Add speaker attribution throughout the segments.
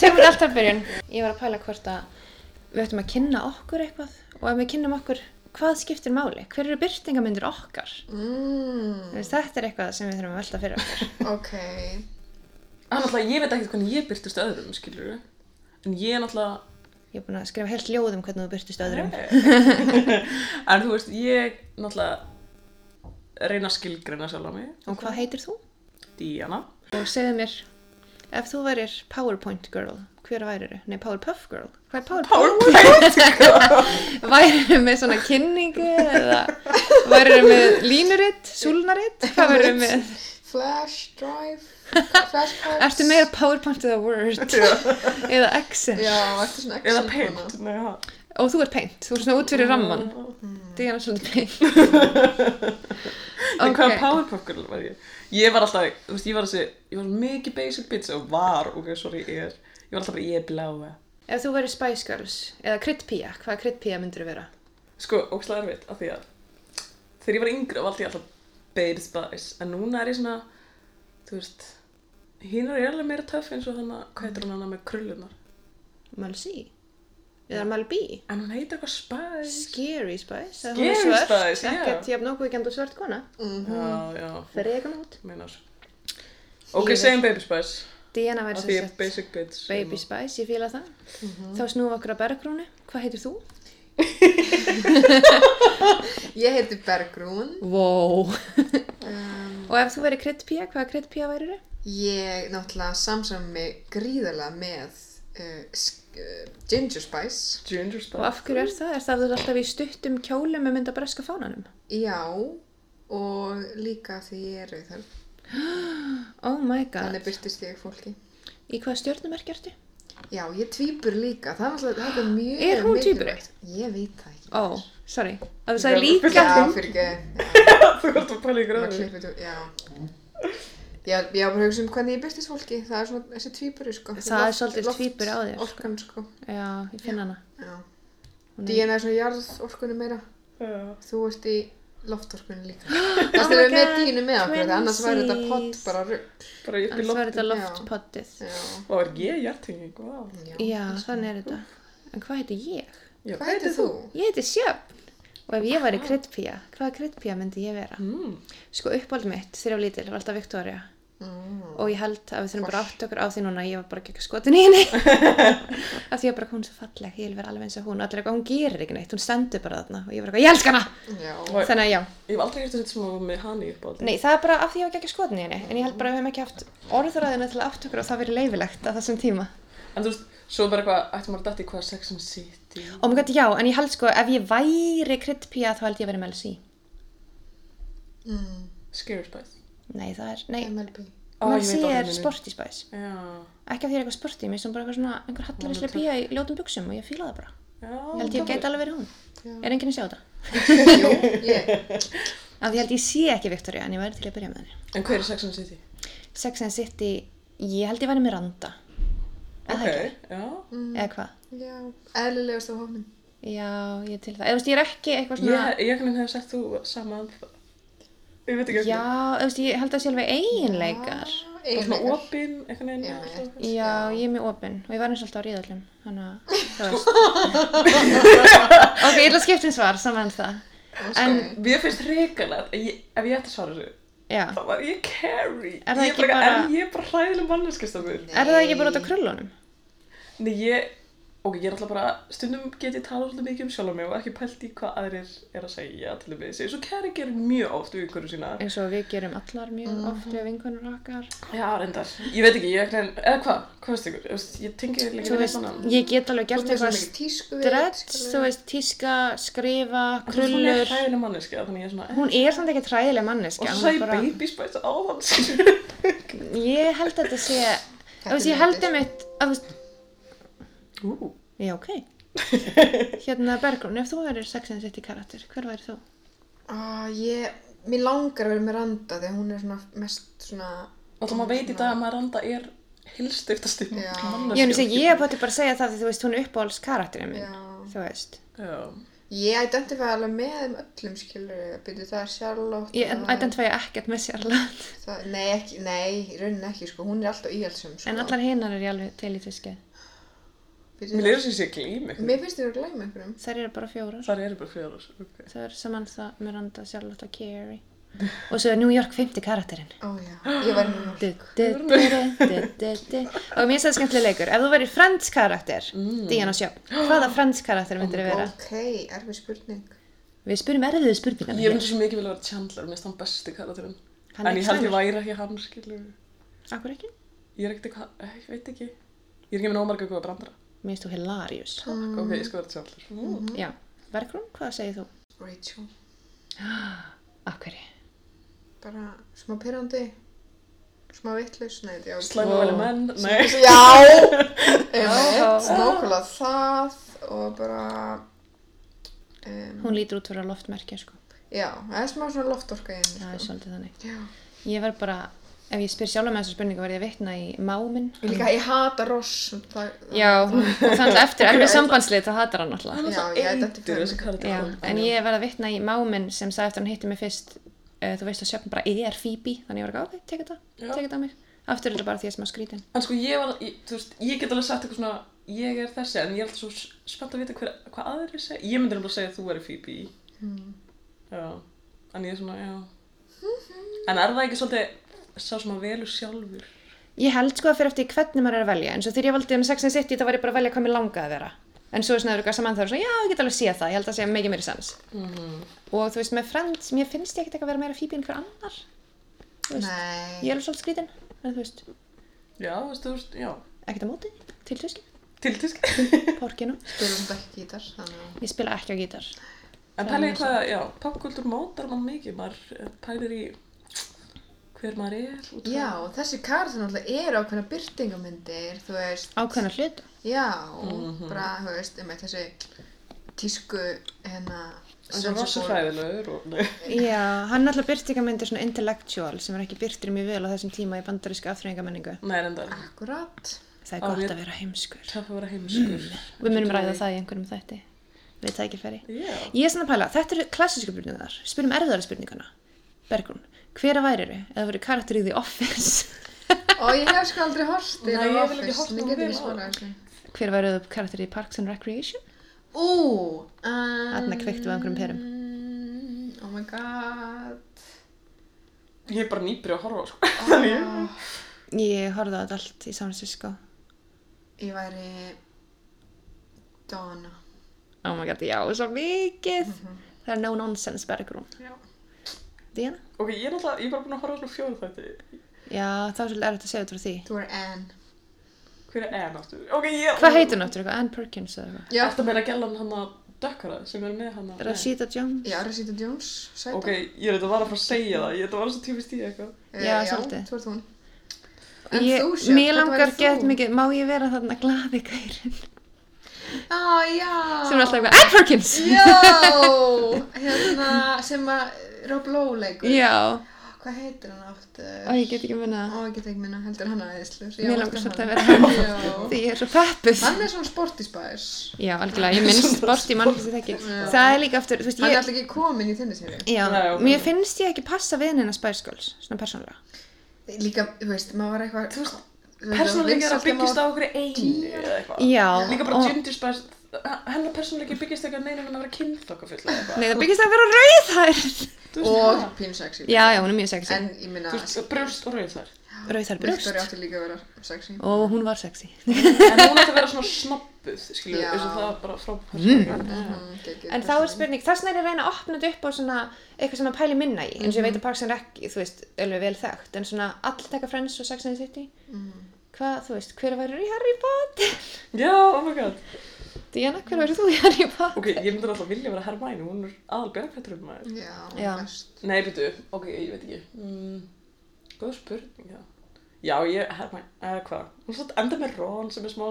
Speaker 1: þetta er alltaf byrjun. Ég var að pæla hvort að við ættum að kynna okkur eitthvað og ef við kynnum okkur hvað skiptir máli, hver eru byrtingamyndir okkar? Þú
Speaker 2: Mm,
Speaker 1: veist, Þetta er eitthvað sem við þurfum að velta fyrir okkur.
Speaker 2: ok.
Speaker 3: Þannig að Ah, ég veit ekkert hvernig ég byrtist öðrum, skilur En ég er náttúrulega...
Speaker 1: Ég er búin að skrifa heilt ljóð um hvernig þú byrtist öðrum.
Speaker 3: en þú veist, ég náttúrulega reyna að skilgreina sjálf á mig.
Speaker 1: Og hvað heitir þú?
Speaker 3: Díana.
Speaker 1: Og segðu mér, ef þú værir PowerPoint girl, hver væriru? Nei, Powerpuff girl. Hvað er PowerPoint? PowerPoint! væriru með svona kynningu eða væriru með línuritt, súlnaritt? Hvað væriru með?
Speaker 2: Flash drive, flashcards.
Speaker 1: Ertu meira PowerPoint eða Word? eða Excel?
Speaker 2: Já, ertu svona action
Speaker 3: Eða
Speaker 2: kona.
Speaker 3: peint. Nei, ha.
Speaker 1: Og þú ert paint, þú ert svona út
Speaker 3: Mm.
Speaker 1: fyrir ramman. Díana er svolítið paint.
Speaker 3: En hvaða Powerpuff Girl var ég? Ég var alltaf, þú veist, ég var þessi, ég var mikið basic bitch og var, ok, sorry, ég er, ég var alltaf bara, ég er bláa.
Speaker 1: Ef þú væri Spice Girls eða Kritpía, hvaða Kritpía myndur vera?
Speaker 3: Sko, ókslega erfitt, af því að þegar ég var yngri var alltaf ég alltaf basic spice, en núna er ég svona, þú veist, hinn er alveg meira töff eins og þannig, hvað heitir hún hana með krullunar?
Speaker 1: Malsi? Eða Malbi?
Speaker 3: En hún heitir eitthvað spice.
Speaker 1: Scary Spice? eða hún
Speaker 3: Scary
Speaker 1: er svört,
Speaker 3: Spice, já.
Speaker 1: Ekkert jafn okkur ekki svört kona.
Speaker 2: Mhm.
Speaker 3: Já, já,
Speaker 1: Frega nót.
Speaker 3: meinar. Ok,
Speaker 1: Ég er-
Speaker 3: segjum baby spice,
Speaker 1: Díana væri
Speaker 3: af því
Speaker 1: sem
Speaker 3: ég er
Speaker 1: sagt
Speaker 3: basic bitch. hérna.
Speaker 1: Baby Spice, ég fíla það.
Speaker 3: Mhm.
Speaker 1: Þá snúum við okkur að bergrúnu. Hvað heitir þú?
Speaker 2: Ég heiti Bergrún.
Speaker 1: Wow.
Speaker 2: Um,
Speaker 1: Og ef þú væri Kritpía, hvaða Kritpía væri þau?
Speaker 2: ég náttúrulega samsam mig gríðarlega með uh, sk- uh, Ginger Spice.
Speaker 3: Ginger
Speaker 1: Og
Speaker 3: spice.
Speaker 1: af hverju er það? Er það að þú ert alltaf í stuttum kjólum með mynda breska fánanum?
Speaker 2: Já, og líka því ég er rauð þar.
Speaker 1: Oh my god.
Speaker 2: Þannig byrtist ég fólki.
Speaker 1: Í hvaða stjórnumerk ertu?
Speaker 2: Já, ég er tvíbur líka. Það er náttúrulega þetta er mjög
Speaker 1: Er hún
Speaker 2: mikilvægt. Ég veit það ekki.
Speaker 1: Ó, oh, sorry. Að þú sagði
Speaker 3: Já,
Speaker 1: líka
Speaker 3: fulla-
Speaker 2: Já,
Speaker 3: Gafling.
Speaker 2: fyrir ekki.
Speaker 3: Þú ert að pæla í
Speaker 2: Það
Speaker 3: gröðu.
Speaker 2: klippið þú, já. Já, ég var bara að hugsa um hvernig ég byrtist fólki. Það er svona þessi tvíburi, sko.
Speaker 1: Það er svolítið tvíburi á þér, sko.
Speaker 2: Orkan, sko.
Speaker 1: Já, ég finn hana.
Speaker 2: Já.
Speaker 1: Hún er-
Speaker 2: Díana er svona jarðorkunni meira.
Speaker 3: Já.
Speaker 2: Þú ert í loftorkunni líka. Þess að við með
Speaker 1: Oh God,
Speaker 2: dínu með okkur, annars væri þetta pott
Speaker 1: twinsies.
Speaker 2: bara rugg.
Speaker 3: Bara upp í
Speaker 1: Annars var
Speaker 3: lofti.
Speaker 1: þetta loftpottið.
Speaker 2: Já.
Speaker 3: Og er ég hjartinging, vá.
Speaker 2: Já.
Speaker 1: Já, þannig er þetta. En hvað heiti ég?
Speaker 3: Já,
Speaker 2: Hvað heitir þú?
Speaker 1: Ég heiti Sjöfn. Og ef ég væri kryddpía, hvaða kryddpía myndi ég vera?
Speaker 3: Mm.
Speaker 1: Sko uppáld mitt, þegar ég var lítil, var alltaf Viktoria.
Speaker 2: Mm.
Speaker 1: Og ég held að við þurfum bara átt okkur á því núna, ég var bara ekki skotin í henni. Af því ég var bara, hún er svo falleg, ég vil vera alveg eins og hún. Og Allir eitthvað, hún gerir ekki neitt, hún stendur bara þarna. Og ég var eitthvað, ég elska hana!
Speaker 2: Já.
Speaker 3: Oj.
Speaker 1: Þannig að já.
Speaker 3: Ég hef aldrei hægt að setja sem með hann í uppáhaldi.
Speaker 1: Nei, það er bara af því ég hef ekki ekki skotin í henni en ég held bara að við hefum ekki haft orðuræðina til að átt okkur og það verið leifilegt á þessum tíma
Speaker 3: En þú veist, svo bara eitthvað, ætti maður að dætti hvað Sex and the City.
Speaker 1: og mér gæti Oh já, en ég held sko ef ég væri kryddpía þá held ég verið með LC
Speaker 2: Mm.
Speaker 3: Scary Spice.
Speaker 1: Nei, það er, nei,
Speaker 2: MLB.
Speaker 3: Ó, ég
Speaker 1: LC
Speaker 3: veit orðið
Speaker 1: er
Speaker 3: minni.
Speaker 1: sporty spice
Speaker 3: Já.
Speaker 1: ekki af því ég er eitthvað sporty, mér sem bara eitthvað svona einhver hallarislega pía í ljótum buksum og ég fíla það bara
Speaker 3: Já.
Speaker 1: ég held ég gæti alveg verið hún,
Speaker 2: Já.
Speaker 1: er enginn að sjá þetta
Speaker 2: Jú, ég.
Speaker 1: af því ég held ég sé ekki Victoria en ég væri til að byrja með henni
Speaker 3: En hver er Sex and the City?
Speaker 1: Sex and the City, ég held ég væri með Randa
Speaker 3: Ok,
Speaker 1: okay.
Speaker 3: já.
Speaker 1: eða hvað,
Speaker 2: Mm, Já. Eðlilegast á hófnum.
Speaker 1: já, ég er til það eða þú veist, ég er ekki eitthvað svona
Speaker 3: Ég, ég kannin hef sett þú sama um það. Ég veit ekki
Speaker 1: Já,
Speaker 3: eitthvað.
Speaker 1: þú veist, ég held að sé alveg eiginleikar.
Speaker 3: Bara svona
Speaker 2: Eginleikar.
Speaker 3: opinn, eitthvað neina.
Speaker 2: Já, já.
Speaker 1: Já, ég er mjög opinn og ég var eins og alltaf á ríðallum, þannig að það veist. ok, ég ætla að skipta um svar, saman það. En,
Speaker 3: Mér finnst reikalegt, ég, ef ég ætti að svara þessu,
Speaker 1: já,
Speaker 3: þá var ég Carrie.
Speaker 1: Er það
Speaker 3: Ég
Speaker 1: ekki bara-
Speaker 3: En ég er bara hræðileg manneskistamur.
Speaker 1: er það ekki bara út af krullunum?
Speaker 3: Nei, ég, ok, ég er alltaf bara, stundum get ég talað svolítið mikið um sjálf mig og ekki pælt í hvað aðrir er að segja til og með þessi. Svo Kari gerir mjög oft við ykkur sína.
Speaker 1: Eins og við gerum allar mjög oft við vinkunum okkar.
Speaker 3: Já, reyndar. Ég veit ekki, ég ekki, eða hvað, hvað veist ykkur? Þú veist, Ég tengi
Speaker 1: Þú
Speaker 3: líka
Speaker 1: veist, ég get alveg
Speaker 2: Þú
Speaker 1: gert
Speaker 2: tekur
Speaker 1: eitthvað
Speaker 2: mikið tísku við.
Speaker 1: stretch,
Speaker 2: skilur
Speaker 1: þú
Speaker 2: við.
Speaker 1: veist, tíska, skrifa,
Speaker 3: Hún er
Speaker 1: krullur.
Speaker 3: hræðileg manneskja, þannig ég er svona,
Speaker 1: Hún er samt ekki træðileg
Speaker 3: eh, og
Speaker 1: manneskja.
Speaker 3: svo
Speaker 1: hún
Speaker 3: sagði
Speaker 1: er
Speaker 3: ég
Speaker 1: bara-
Speaker 3: baby spice á þann, skilur.
Speaker 1: Ég held að þetta sé, þú veist, ég held um eitt, að þú veist,
Speaker 3: Ú,
Speaker 1: Já, ok. hérna Bergrún, ef þú verður sex and the city karakter, hver væri þú?
Speaker 2: Ah, ég, mér langar að vera með Randa þegar hún er svona mest svona...
Speaker 3: alltaf maður veit í dag að Miranda er hilstiftast í
Speaker 2: Já.
Speaker 1: Ég
Speaker 3: manneskja.
Speaker 1: finnst að ég bótti bara að segja það því þú veist, hún er uppáhalds karakterinn minn,
Speaker 2: Já.
Speaker 1: þú veist.
Speaker 3: Já,
Speaker 2: Ég identifæði alveg með þeim öllum, skilur við. Byrju, það er Charlotte...
Speaker 1: Ég
Speaker 2: það er-
Speaker 1: identifæja ekkert með Sjarlat,
Speaker 2: það- Nei, ekki, nei, í rauninni ekki, sko. Hún er alltaf íhaldsum, sko.
Speaker 1: en allar hinnar er ég alveg til í fiskið.
Speaker 3: Mér er þess að ég glým eitthvað.
Speaker 2: Mér finnst þér að glæma einhverjum.
Speaker 1: Þær eru bara fjórar.
Speaker 3: Það eru bara fjórar. Okay.
Speaker 1: Það er Samantha, Miranda, Charlotte og Carrie. Og svo er New York 50 karakterinn.
Speaker 2: Ó já, ég var nú
Speaker 1: Du, du, du, du, du, du. Og mér sæði skemmtileg leikur. Ef þú væri Friends karakter, mm. Díana sjá, hvaða Friends karakter myndir vera?
Speaker 2: Ok, erfið spurning.
Speaker 1: Við spurum erfiðu spurningar.
Speaker 3: Ég myndi svo mikið vilja vera Chandler, mér finnst hann besti karakterinn.
Speaker 1: Hann er
Speaker 3: En
Speaker 1: ekki
Speaker 3: ég held ég
Speaker 1: slæmur.
Speaker 3: væri ekki hann, skilur.
Speaker 1: Akkur ekki?
Speaker 3: Ég er ekkert eitthvað, eh, ég veit ekki. Ég er ekki með nómarga góða brandara.
Speaker 1: Mér finnst þú hilarious.
Speaker 3: Mm. Ok, ég skal vera Chandler. Mm.
Speaker 1: Já. Bergrún, hvað segir þú?
Speaker 2: Rachel,
Speaker 1: Akkur.
Speaker 2: bara smá pyrrandi, smá vittlaus, nei, já.
Speaker 3: Slæma
Speaker 1: Wow.
Speaker 3: væli menn, nei.
Speaker 2: Já, einmitt, nákvæmlega það og bara, um,
Speaker 1: Hún lítur út fyrir að loftmerkja, sko.
Speaker 2: já, það er smá svona loftorka í
Speaker 1: Það er
Speaker 2: henni, sko.
Speaker 1: svolítið þannig.
Speaker 2: Já,
Speaker 1: Ég verð bara, ef ég spyr sjálf með þessar spurningar, verð ég að vitna í máminn.
Speaker 2: Ég líka, ég hata Ross, það,
Speaker 1: Já, og þannig að eftir erfið sambandslið þá hatar hann alltaf.
Speaker 3: Hann er
Speaker 2: Já,
Speaker 3: alltaf
Speaker 2: ég identify
Speaker 3: eitur
Speaker 2: mig.
Speaker 3: þessi
Speaker 1: Já,
Speaker 3: karakter.
Speaker 1: en ég verð að vitna í máminn sem sagði eftir hann hitti mig fyrst uh, þú veist að sjöfn bara er Phoebe þannig ég var ekki, ok, tek þetta,
Speaker 3: Já.
Speaker 1: tek þetta á mig aftur er þetta bara því að sem að skrítin
Speaker 3: En sko ég var, ég, þú veist, ég get alveg sagt eitthvað svona, ég er þessi, en ég er alltaf svo s- spennt að vita hver, hvað aðrir segja. Ég myndi nefnilega að segja að þú væri Phoebe.
Speaker 1: Hmm.
Speaker 3: Já, en ég er svona, já. En er það ekki svolítið sá sem að velu sjálfur?
Speaker 1: ég held sko að fyrir eftir hvernig maður er að velja eins og þegar ég valdi um Sex and the City þá var ég bara að velja hvað mér langaði að vera en svo er svona öðruga saman þar svona já, ég get alveg séð það, ég held að segja mikið meiri sens Mhm. og þú veist með Friends, mér finnst ég ekkert eitthvað að vera meira Phoebe en hver annar Þú veist,
Speaker 2: nei,
Speaker 1: ég er alveg svolítið skrítin en þú veist,
Speaker 3: Já, þú veist, þú veist, já.
Speaker 1: ekkert á móti til tuski,
Speaker 3: Tiltisk.
Speaker 1: porkinu
Speaker 2: spilum þetta ekki gítar, þannig að,
Speaker 1: ég spila ekki á gítar
Speaker 3: en pælir hvað, já, popkultúr mótar mann mikið, maður eh, pælir í hver maður er. út frá-
Speaker 2: já, og þessi karðin alltaf eru ákveðna byrtingamyndir, þú veist,
Speaker 1: ákveðna hluta
Speaker 2: já,
Speaker 3: Mhm.
Speaker 2: bara, þú veist, einmitt þessi tísku, hérna,
Speaker 3: Hann er rosa
Speaker 2: sensible-
Speaker 3: hræðilegur og... Nei.
Speaker 1: Já, hann alltaf byrti ekki myndir svona intellectual sem er ekki byrtir mjög vel á þessum tíma í bandarísku afþreyingamenningu.
Speaker 3: Nei, reyndar.
Speaker 2: Akkurat.
Speaker 1: Það er
Speaker 3: Á,
Speaker 1: gott
Speaker 3: ég-
Speaker 1: að vera heimskur.
Speaker 3: Töff að vera heimskur.
Speaker 1: Við munum ræða það í einhverjum þætti. Við tækifæri.
Speaker 3: Já.
Speaker 1: Ég er svona að pæla, þetta eru klassísku spurningar. Spyrum erðara spurningana. Bergrún, hver að væriru? Eða voru karakter í The Office?
Speaker 2: Og ég hef sko aldrei hort í
Speaker 3: Nei,
Speaker 2: The
Speaker 3: ég hef ekki
Speaker 2: Office,
Speaker 3: horft á
Speaker 2: en ég
Speaker 3: hann
Speaker 2: get
Speaker 3: vel
Speaker 2: ekki
Speaker 3: á.
Speaker 2: svarað þessu.
Speaker 1: hver væriðu karakter í Parks and Recreation?
Speaker 2: Ú, um,
Speaker 1: Þarna kveiktum við á einhverjum perum.
Speaker 2: Oh my god.
Speaker 3: Ég er bara nýbri að horfa,
Speaker 1: Ah.
Speaker 3: sko. Þannig.
Speaker 2: Ah,
Speaker 3: ég-
Speaker 1: Ég horfði á þetta allt í San Francisco.
Speaker 2: Ég væri Donna.
Speaker 1: Oh my god, já, svo mikið. Mhm. Það er no nonsense Bergrún.
Speaker 2: Já.
Speaker 1: Díana?
Speaker 3: Ok, ég er alltaf, ég er bara búin að horfa á svona fjóru þætti.
Speaker 1: Já, það er svolítið erfitt að segja þetta frá því.
Speaker 2: Þú er Anne.
Speaker 3: Hver er Ann aftur? Ok, ég...
Speaker 1: Hvað heitir hún aftur eitthvað? Ann Perkins eða eitthvað?
Speaker 2: Já.
Speaker 3: Þetta meira gælan hann að dökkara sem er með hann að...
Speaker 1: Rashida Jones?
Speaker 2: Já, Rosita Jones. Sæta.
Speaker 3: Ok, ég er þetta var að fara að segja það. Ég þetta var svo típist í eitthvað.
Speaker 2: Eh,
Speaker 1: Já, svolítið.
Speaker 2: þú ert hún. En
Speaker 1: Ég,
Speaker 2: þú sjálf,
Speaker 1: mér
Speaker 2: þetta
Speaker 1: langar
Speaker 2: væri þú.
Speaker 1: gett mikið, má ég vera þarna glaði gærin
Speaker 2: Á, Ah, já.
Speaker 1: sem er alltaf eitthvað, Ann Perkins!
Speaker 2: Já, hérna, sem að Rob Lowe leikur.
Speaker 1: Já,
Speaker 2: Hvað heitir hann aftur?
Speaker 1: og ég get ekki munna
Speaker 2: Ó, ég get ekki minna, heldur hann aðeinslur.
Speaker 1: Mér langar svolítið að vera hann.
Speaker 2: Já.
Speaker 1: því ég er svo peppuð.
Speaker 2: Hann er svona sportispærs.
Speaker 1: Já, algjörlega, ég minnst sport í mannlísi þekki.
Speaker 2: Já.
Speaker 1: Það er líka aftur, þú veist,
Speaker 2: Hann er
Speaker 1: ég,
Speaker 2: alltaf ekki kominn í þinni séri.
Speaker 1: já,
Speaker 3: Nei, ok.
Speaker 1: mér finnst ég ekki passa við henni Spice Girls, svona persónulega.
Speaker 2: Líka, þú veist, maður var eitthvað... Þú veist,
Speaker 3: Persónuleika er að byggjast á okkur einu eða eitthvað.
Speaker 1: Já,
Speaker 3: Líka
Speaker 1: og-
Speaker 3: bara Ginger Spice, hennar persónuleika byggjast ekki að neina en að vera kynþokkafull eða eitthvað.
Speaker 1: Nei, það byggist að vera rauð þær.
Speaker 3: Þú veist
Speaker 2: Og
Speaker 3: það.
Speaker 2: pínu sexy.
Speaker 1: Já, já, hún er mjög sexy.
Speaker 2: En ég minna,
Speaker 3: Þú veist, brjóst og rauð þar.
Speaker 1: Rauð þær
Speaker 2: Victoria
Speaker 1: brjóst.
Speaker 2: átti líka að vera sexy.
Speaker 1: Og hún var sexy.
Speaker 3: En hún ætti að vera svona snobbuð, skilju,
Speaker 2: Já.
Speaker 3: eins og það var bara frábært. Mm.
Speaker 2: Mm, geggjuð
Speaker 1: Mhm. En þá er
Speaker 2: persóna.
Speaker 1: spurning, þess vegna er ég að reyna að opna þetta upp á svona eitthvað sem að pæli minna í, eins og ég veit að Parks and Rec, þú veist, alveg vel þekkt, en svona all taka Friends og Sex and the City,
Speaker 2: Mhm,
Speaker 1: hvað, þú veist, hver væri í Harry Potter?
Speaker 3: Já, oh my god.
Speaker 1: Diana, hver væri þú í Harry Potter?
Speaker 3: Ok, ég myndi alltaf vilja vera Hermæni, hún er aðal björgfættur um maður.
Speaker 2: Já,
Speaker 1: Já.
Speaker 2: best.
Speaker 3: Nei, byrju, ok, ég veit ekki. Mm, góð spurning, já. Já, ég, herrmæn, eða hvað? Hún satt enda með Ron sem er smá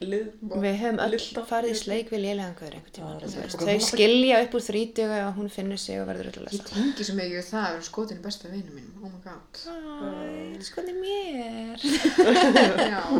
Speaker 3: lið.
Speaker 1: Við höfum öll
Speaker 3: Lilla- Sko,
Speaker 1: farið í sleik við lélegan guður einhvern
Speaker 3: Já,
Speaker 1: tíma, þú veist,
Speaker 3: ok.
Speaker 1: þau skilja upp úr þrítuga og hún finnur sig og verður öll að
Speaker 2: Ég
Speaker 1: lesa.
Speaker 2: tengi svo mikið við það að vera skotin í besta vinnu mínum. Oh my god.
Speaker 1: Æ, skoði mér.
Speaker 2: Já.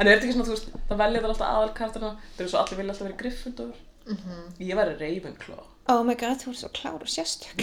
Speaker 3: En er þetta ekki svona, þú veist, það velja það alltaf aðal kartina, það er svo allir vilja alltaf vera Gryffindor.
Speaker 2: Mhm.
Speaker 3: Ég væri Ravenclaw.
Speaker 1: Oh my god, þú ert svo klár og sérstök.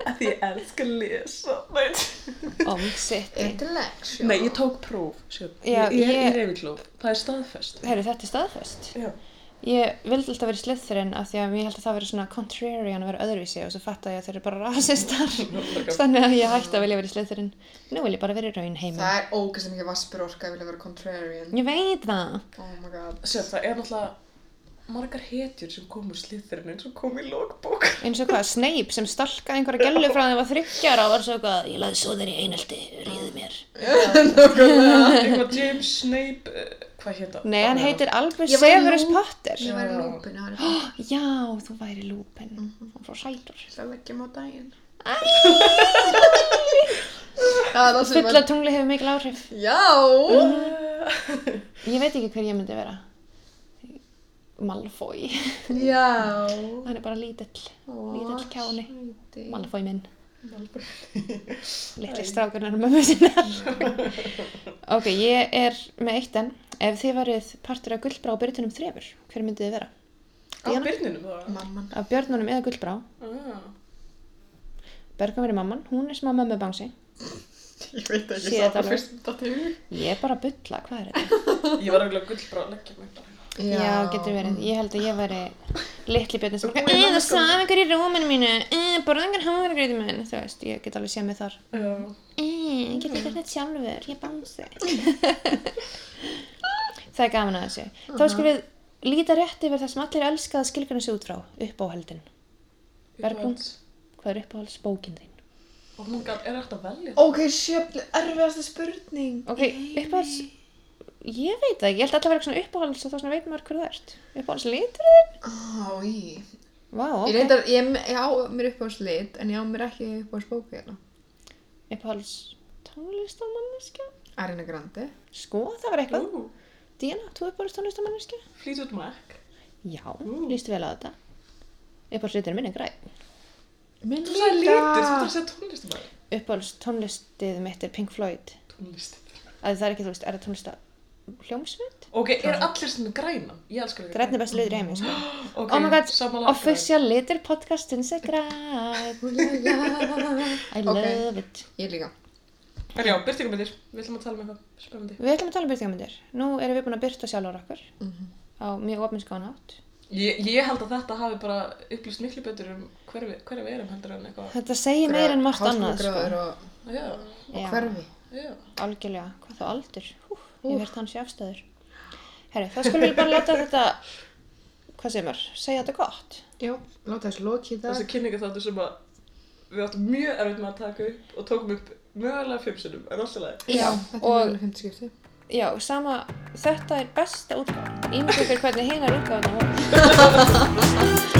Speaker 3: En Því ég elska að lesa. Nei,
Speaker 1: Om sitt.
Speaker 2: Intellectual.
Speaker 3: Nei ég tók próf. Sjö.
Speaker 1: Já,
Speaker 3: ég, ég
Speaker 1: ég-
Speaker 3: er í reyfiklóf. Það er staðfest.
Speaker 1: Herru, þetta er staðfest.
Speaker 3: Já.
Speaker 1: Ég vildi alltaf verið Slytherin af því að mér held að það verið svona contrarian að vera öðruvísi og svo fattaði ég að þeir eru bara rasistar. Þannig að ég hætti að vilja verið Slytherin. Nú vil ég bara verið raun heima.
Speaker 2: Það er ógæslega mikið vaspurorka að vilja vera contrarian.
Speaker 1: Ég veit það.
Speaker 2: Oh my god.
Speaker 3: Sjö, það er náttúrulega margar hetjur sem kom úr sliðurinn eins og kom í logbók.
Speaker 1: eins og hvað, Snape sem stalkaði einhverja gellu frá þeim að þryggjar og var svo eitthvað, ég laði svo þeir í einhaldi, ríðu mér.
Speaker 3: Eitthvað James Snape, eh, hvað heit það?
Speaker 1: Nei, hann heitir Albus
Speaker 2: Ég væri
Speaker 1: Severus
Speaker 2: lú-
Speaker 1: Potter.
Speaker 2: Ég væri lúpin að það er
Speaker 1: Já, þú væri lúpin.
Speaker 2: Mhm.
Speaker 1: Hann frá sælur.
Speaker 2: alltaf að leggja mig á daginn. Það er það sem
Speaker 1: Fulla tungli hefur mikil áhrif.
Speaker 2: Já!
Speaker 1: Ég veit ekki hver ég myndi vera. Malfoy.
Speaker 2: Já.
Speaker 1: hann er bara lítill. Lítill kjáni.
Speaker 2: kjáni.
Speaker 1: Malfoy minn. Litli strákurinn er mömmu sinnar. ok, ég er með eitt enn. Ef þið værið partur af gullbrá og byrjutunum þrefur, hver myndið þið vera?
Speaker 3: Á byrninum það.
Speaker 2: Mamman.
Speaker 1: Af björnunum eða gullbrá?
Speaker 3: Ah.
Speaker 1: Bergan verið mamman, hún er smá mömmu bánsi.
Speaker 2: Ég veit
Speaker 1: Sé
Speaker 2: ekki það
Speaker 1: þetta
Speaker 2: var
Speaker 1: alveg.
Speaker 2: fyrst þetta til.
Speaker 1: um- Ég er bara að bulla, hvað er þetta?
Speaker 3: Ég var eiginlega gullbrá að leggja mig bara.
Speaker 1: Já, getur verið. Ég held að ég væri litli björnum sem
Speaker 3: Rúin
Speaker 1: eitthvað, "Eh,
Speaker 3: annars
Speaker 1: það saf einhver í rúminu mínu, eh, borða einhver hamburgrið minn. Þú veist, ég get alveg séð mig þar.
Speaker 3: Já.
Speaker 1: Eh, ég get ekki þetta sjálfur, ég er bánsi. það er gaman að þessu. Þá skulum við líta rétt yfir það sem allir elskaða skilgjörnum sig út frá, uppáhaldin. Bergrún? Hvað er uppáhaldsbókin þín?
Speaker 3: Og hún gaf, er þetta að velja?
Speaker 2: Ok, sjöfn, erfiðasta spurning.
Speaker 1: Ok, uppáhalds... Ég veit það ekki, ég held alltaf að vera svona uppáhalds og þá svona veit maður hver þú ert. Uppáhalds liturinn?
Speaker 2: Á, í.
Speaker 1: Vá,
Speaker 2: Ég
Speaker 1: ok.
Speaker 2: reyndar, ég, ég á mér uppáhaldslit, en ég á mér ekki uppáhaldsbóku hérna.
Speaker 1: Uppáhalds tónlistamanniska?
Speaker 2: Arina Grandi.
Speaker 1: Sko, það var eitthvað.
Speaker 3: Ú,
Speaker 1: Díana, þú uppáhalds tónlistamanniska?
Speaker 3: Fleetwood Mac.
Speaker 1: Já, líst vel á þetta. Uppáhalds liturinn minn er græn.
Speaker 2: Minn
Speaker 3: Þú sagði lítur, þú þarf að segja tónlistamæður.
Speaker 1: Uppáhalds tónlistið mitt er Pink Floyd.
Speaker 3: Tónlist.
Speaker 1: Að það er ekki, þú veist, er það tónlista hljómsveit?
Speaker 3: Ok, er allir sem er grænan? Ég elskar ekki.
Speaker 1: Grænn er best litur í heimi, sko.
Speaker 3: Ok,
Speaker 1: oh my god,
Speaker 3: sammála.
Speaker 1: official litur podcastins er græn. I
Speaker 2: Ok.
Speaker 1: love it.
Speaker 2: Ég líka.
Speaker 3: En já, byrtingamöndir. Við ætlum að tala um eitthvað spennandi.
Speaker 1: Við ætlum að tala um byrtingamundir. Nú erum við búin að byrta sjálfur okkur
Speaker 2: Mhm.
Speaker 1: á mjög opinskáðan hátt.
Speaker 3: Ég, ég held að þetta hafi bara upplýst miklu betur um hver við, hver við erum heldur en eitthvað.
Speaker 1: Þetta segir meira en margt annað,
Speaker 2: Háskólagráður
Speaker 1: sko.
Speaker 2: og,
Speaker 3: Já,
Speaker 2: og
Speaker 1: Já.
Speaker 2: hverfi.
Speaker 3: já.
Speaker 1: Algjörlega, hvað þá aldur? Hú, ég verði hans í afstæður. Herri, þá skulum við bara láta þetta, hvað segir maður, segja þetta gott.
Speaker 2: Jú, láta þess lokið það.
Speaker 3: Þessi kynninga þáttu sem að við áttum mjög erfitt með að taka upp og tókum upp mögulega fimm sinnum, en alltaf leið.
Speaker 2: Já, þetta
Speaker 1: og-
Speaker 2: er mjög fymta skipti.
Speaker 1: Já, sama, þetta er besta útgáðan. Ímyndu ykkur hvernig hinar útgáðan voru.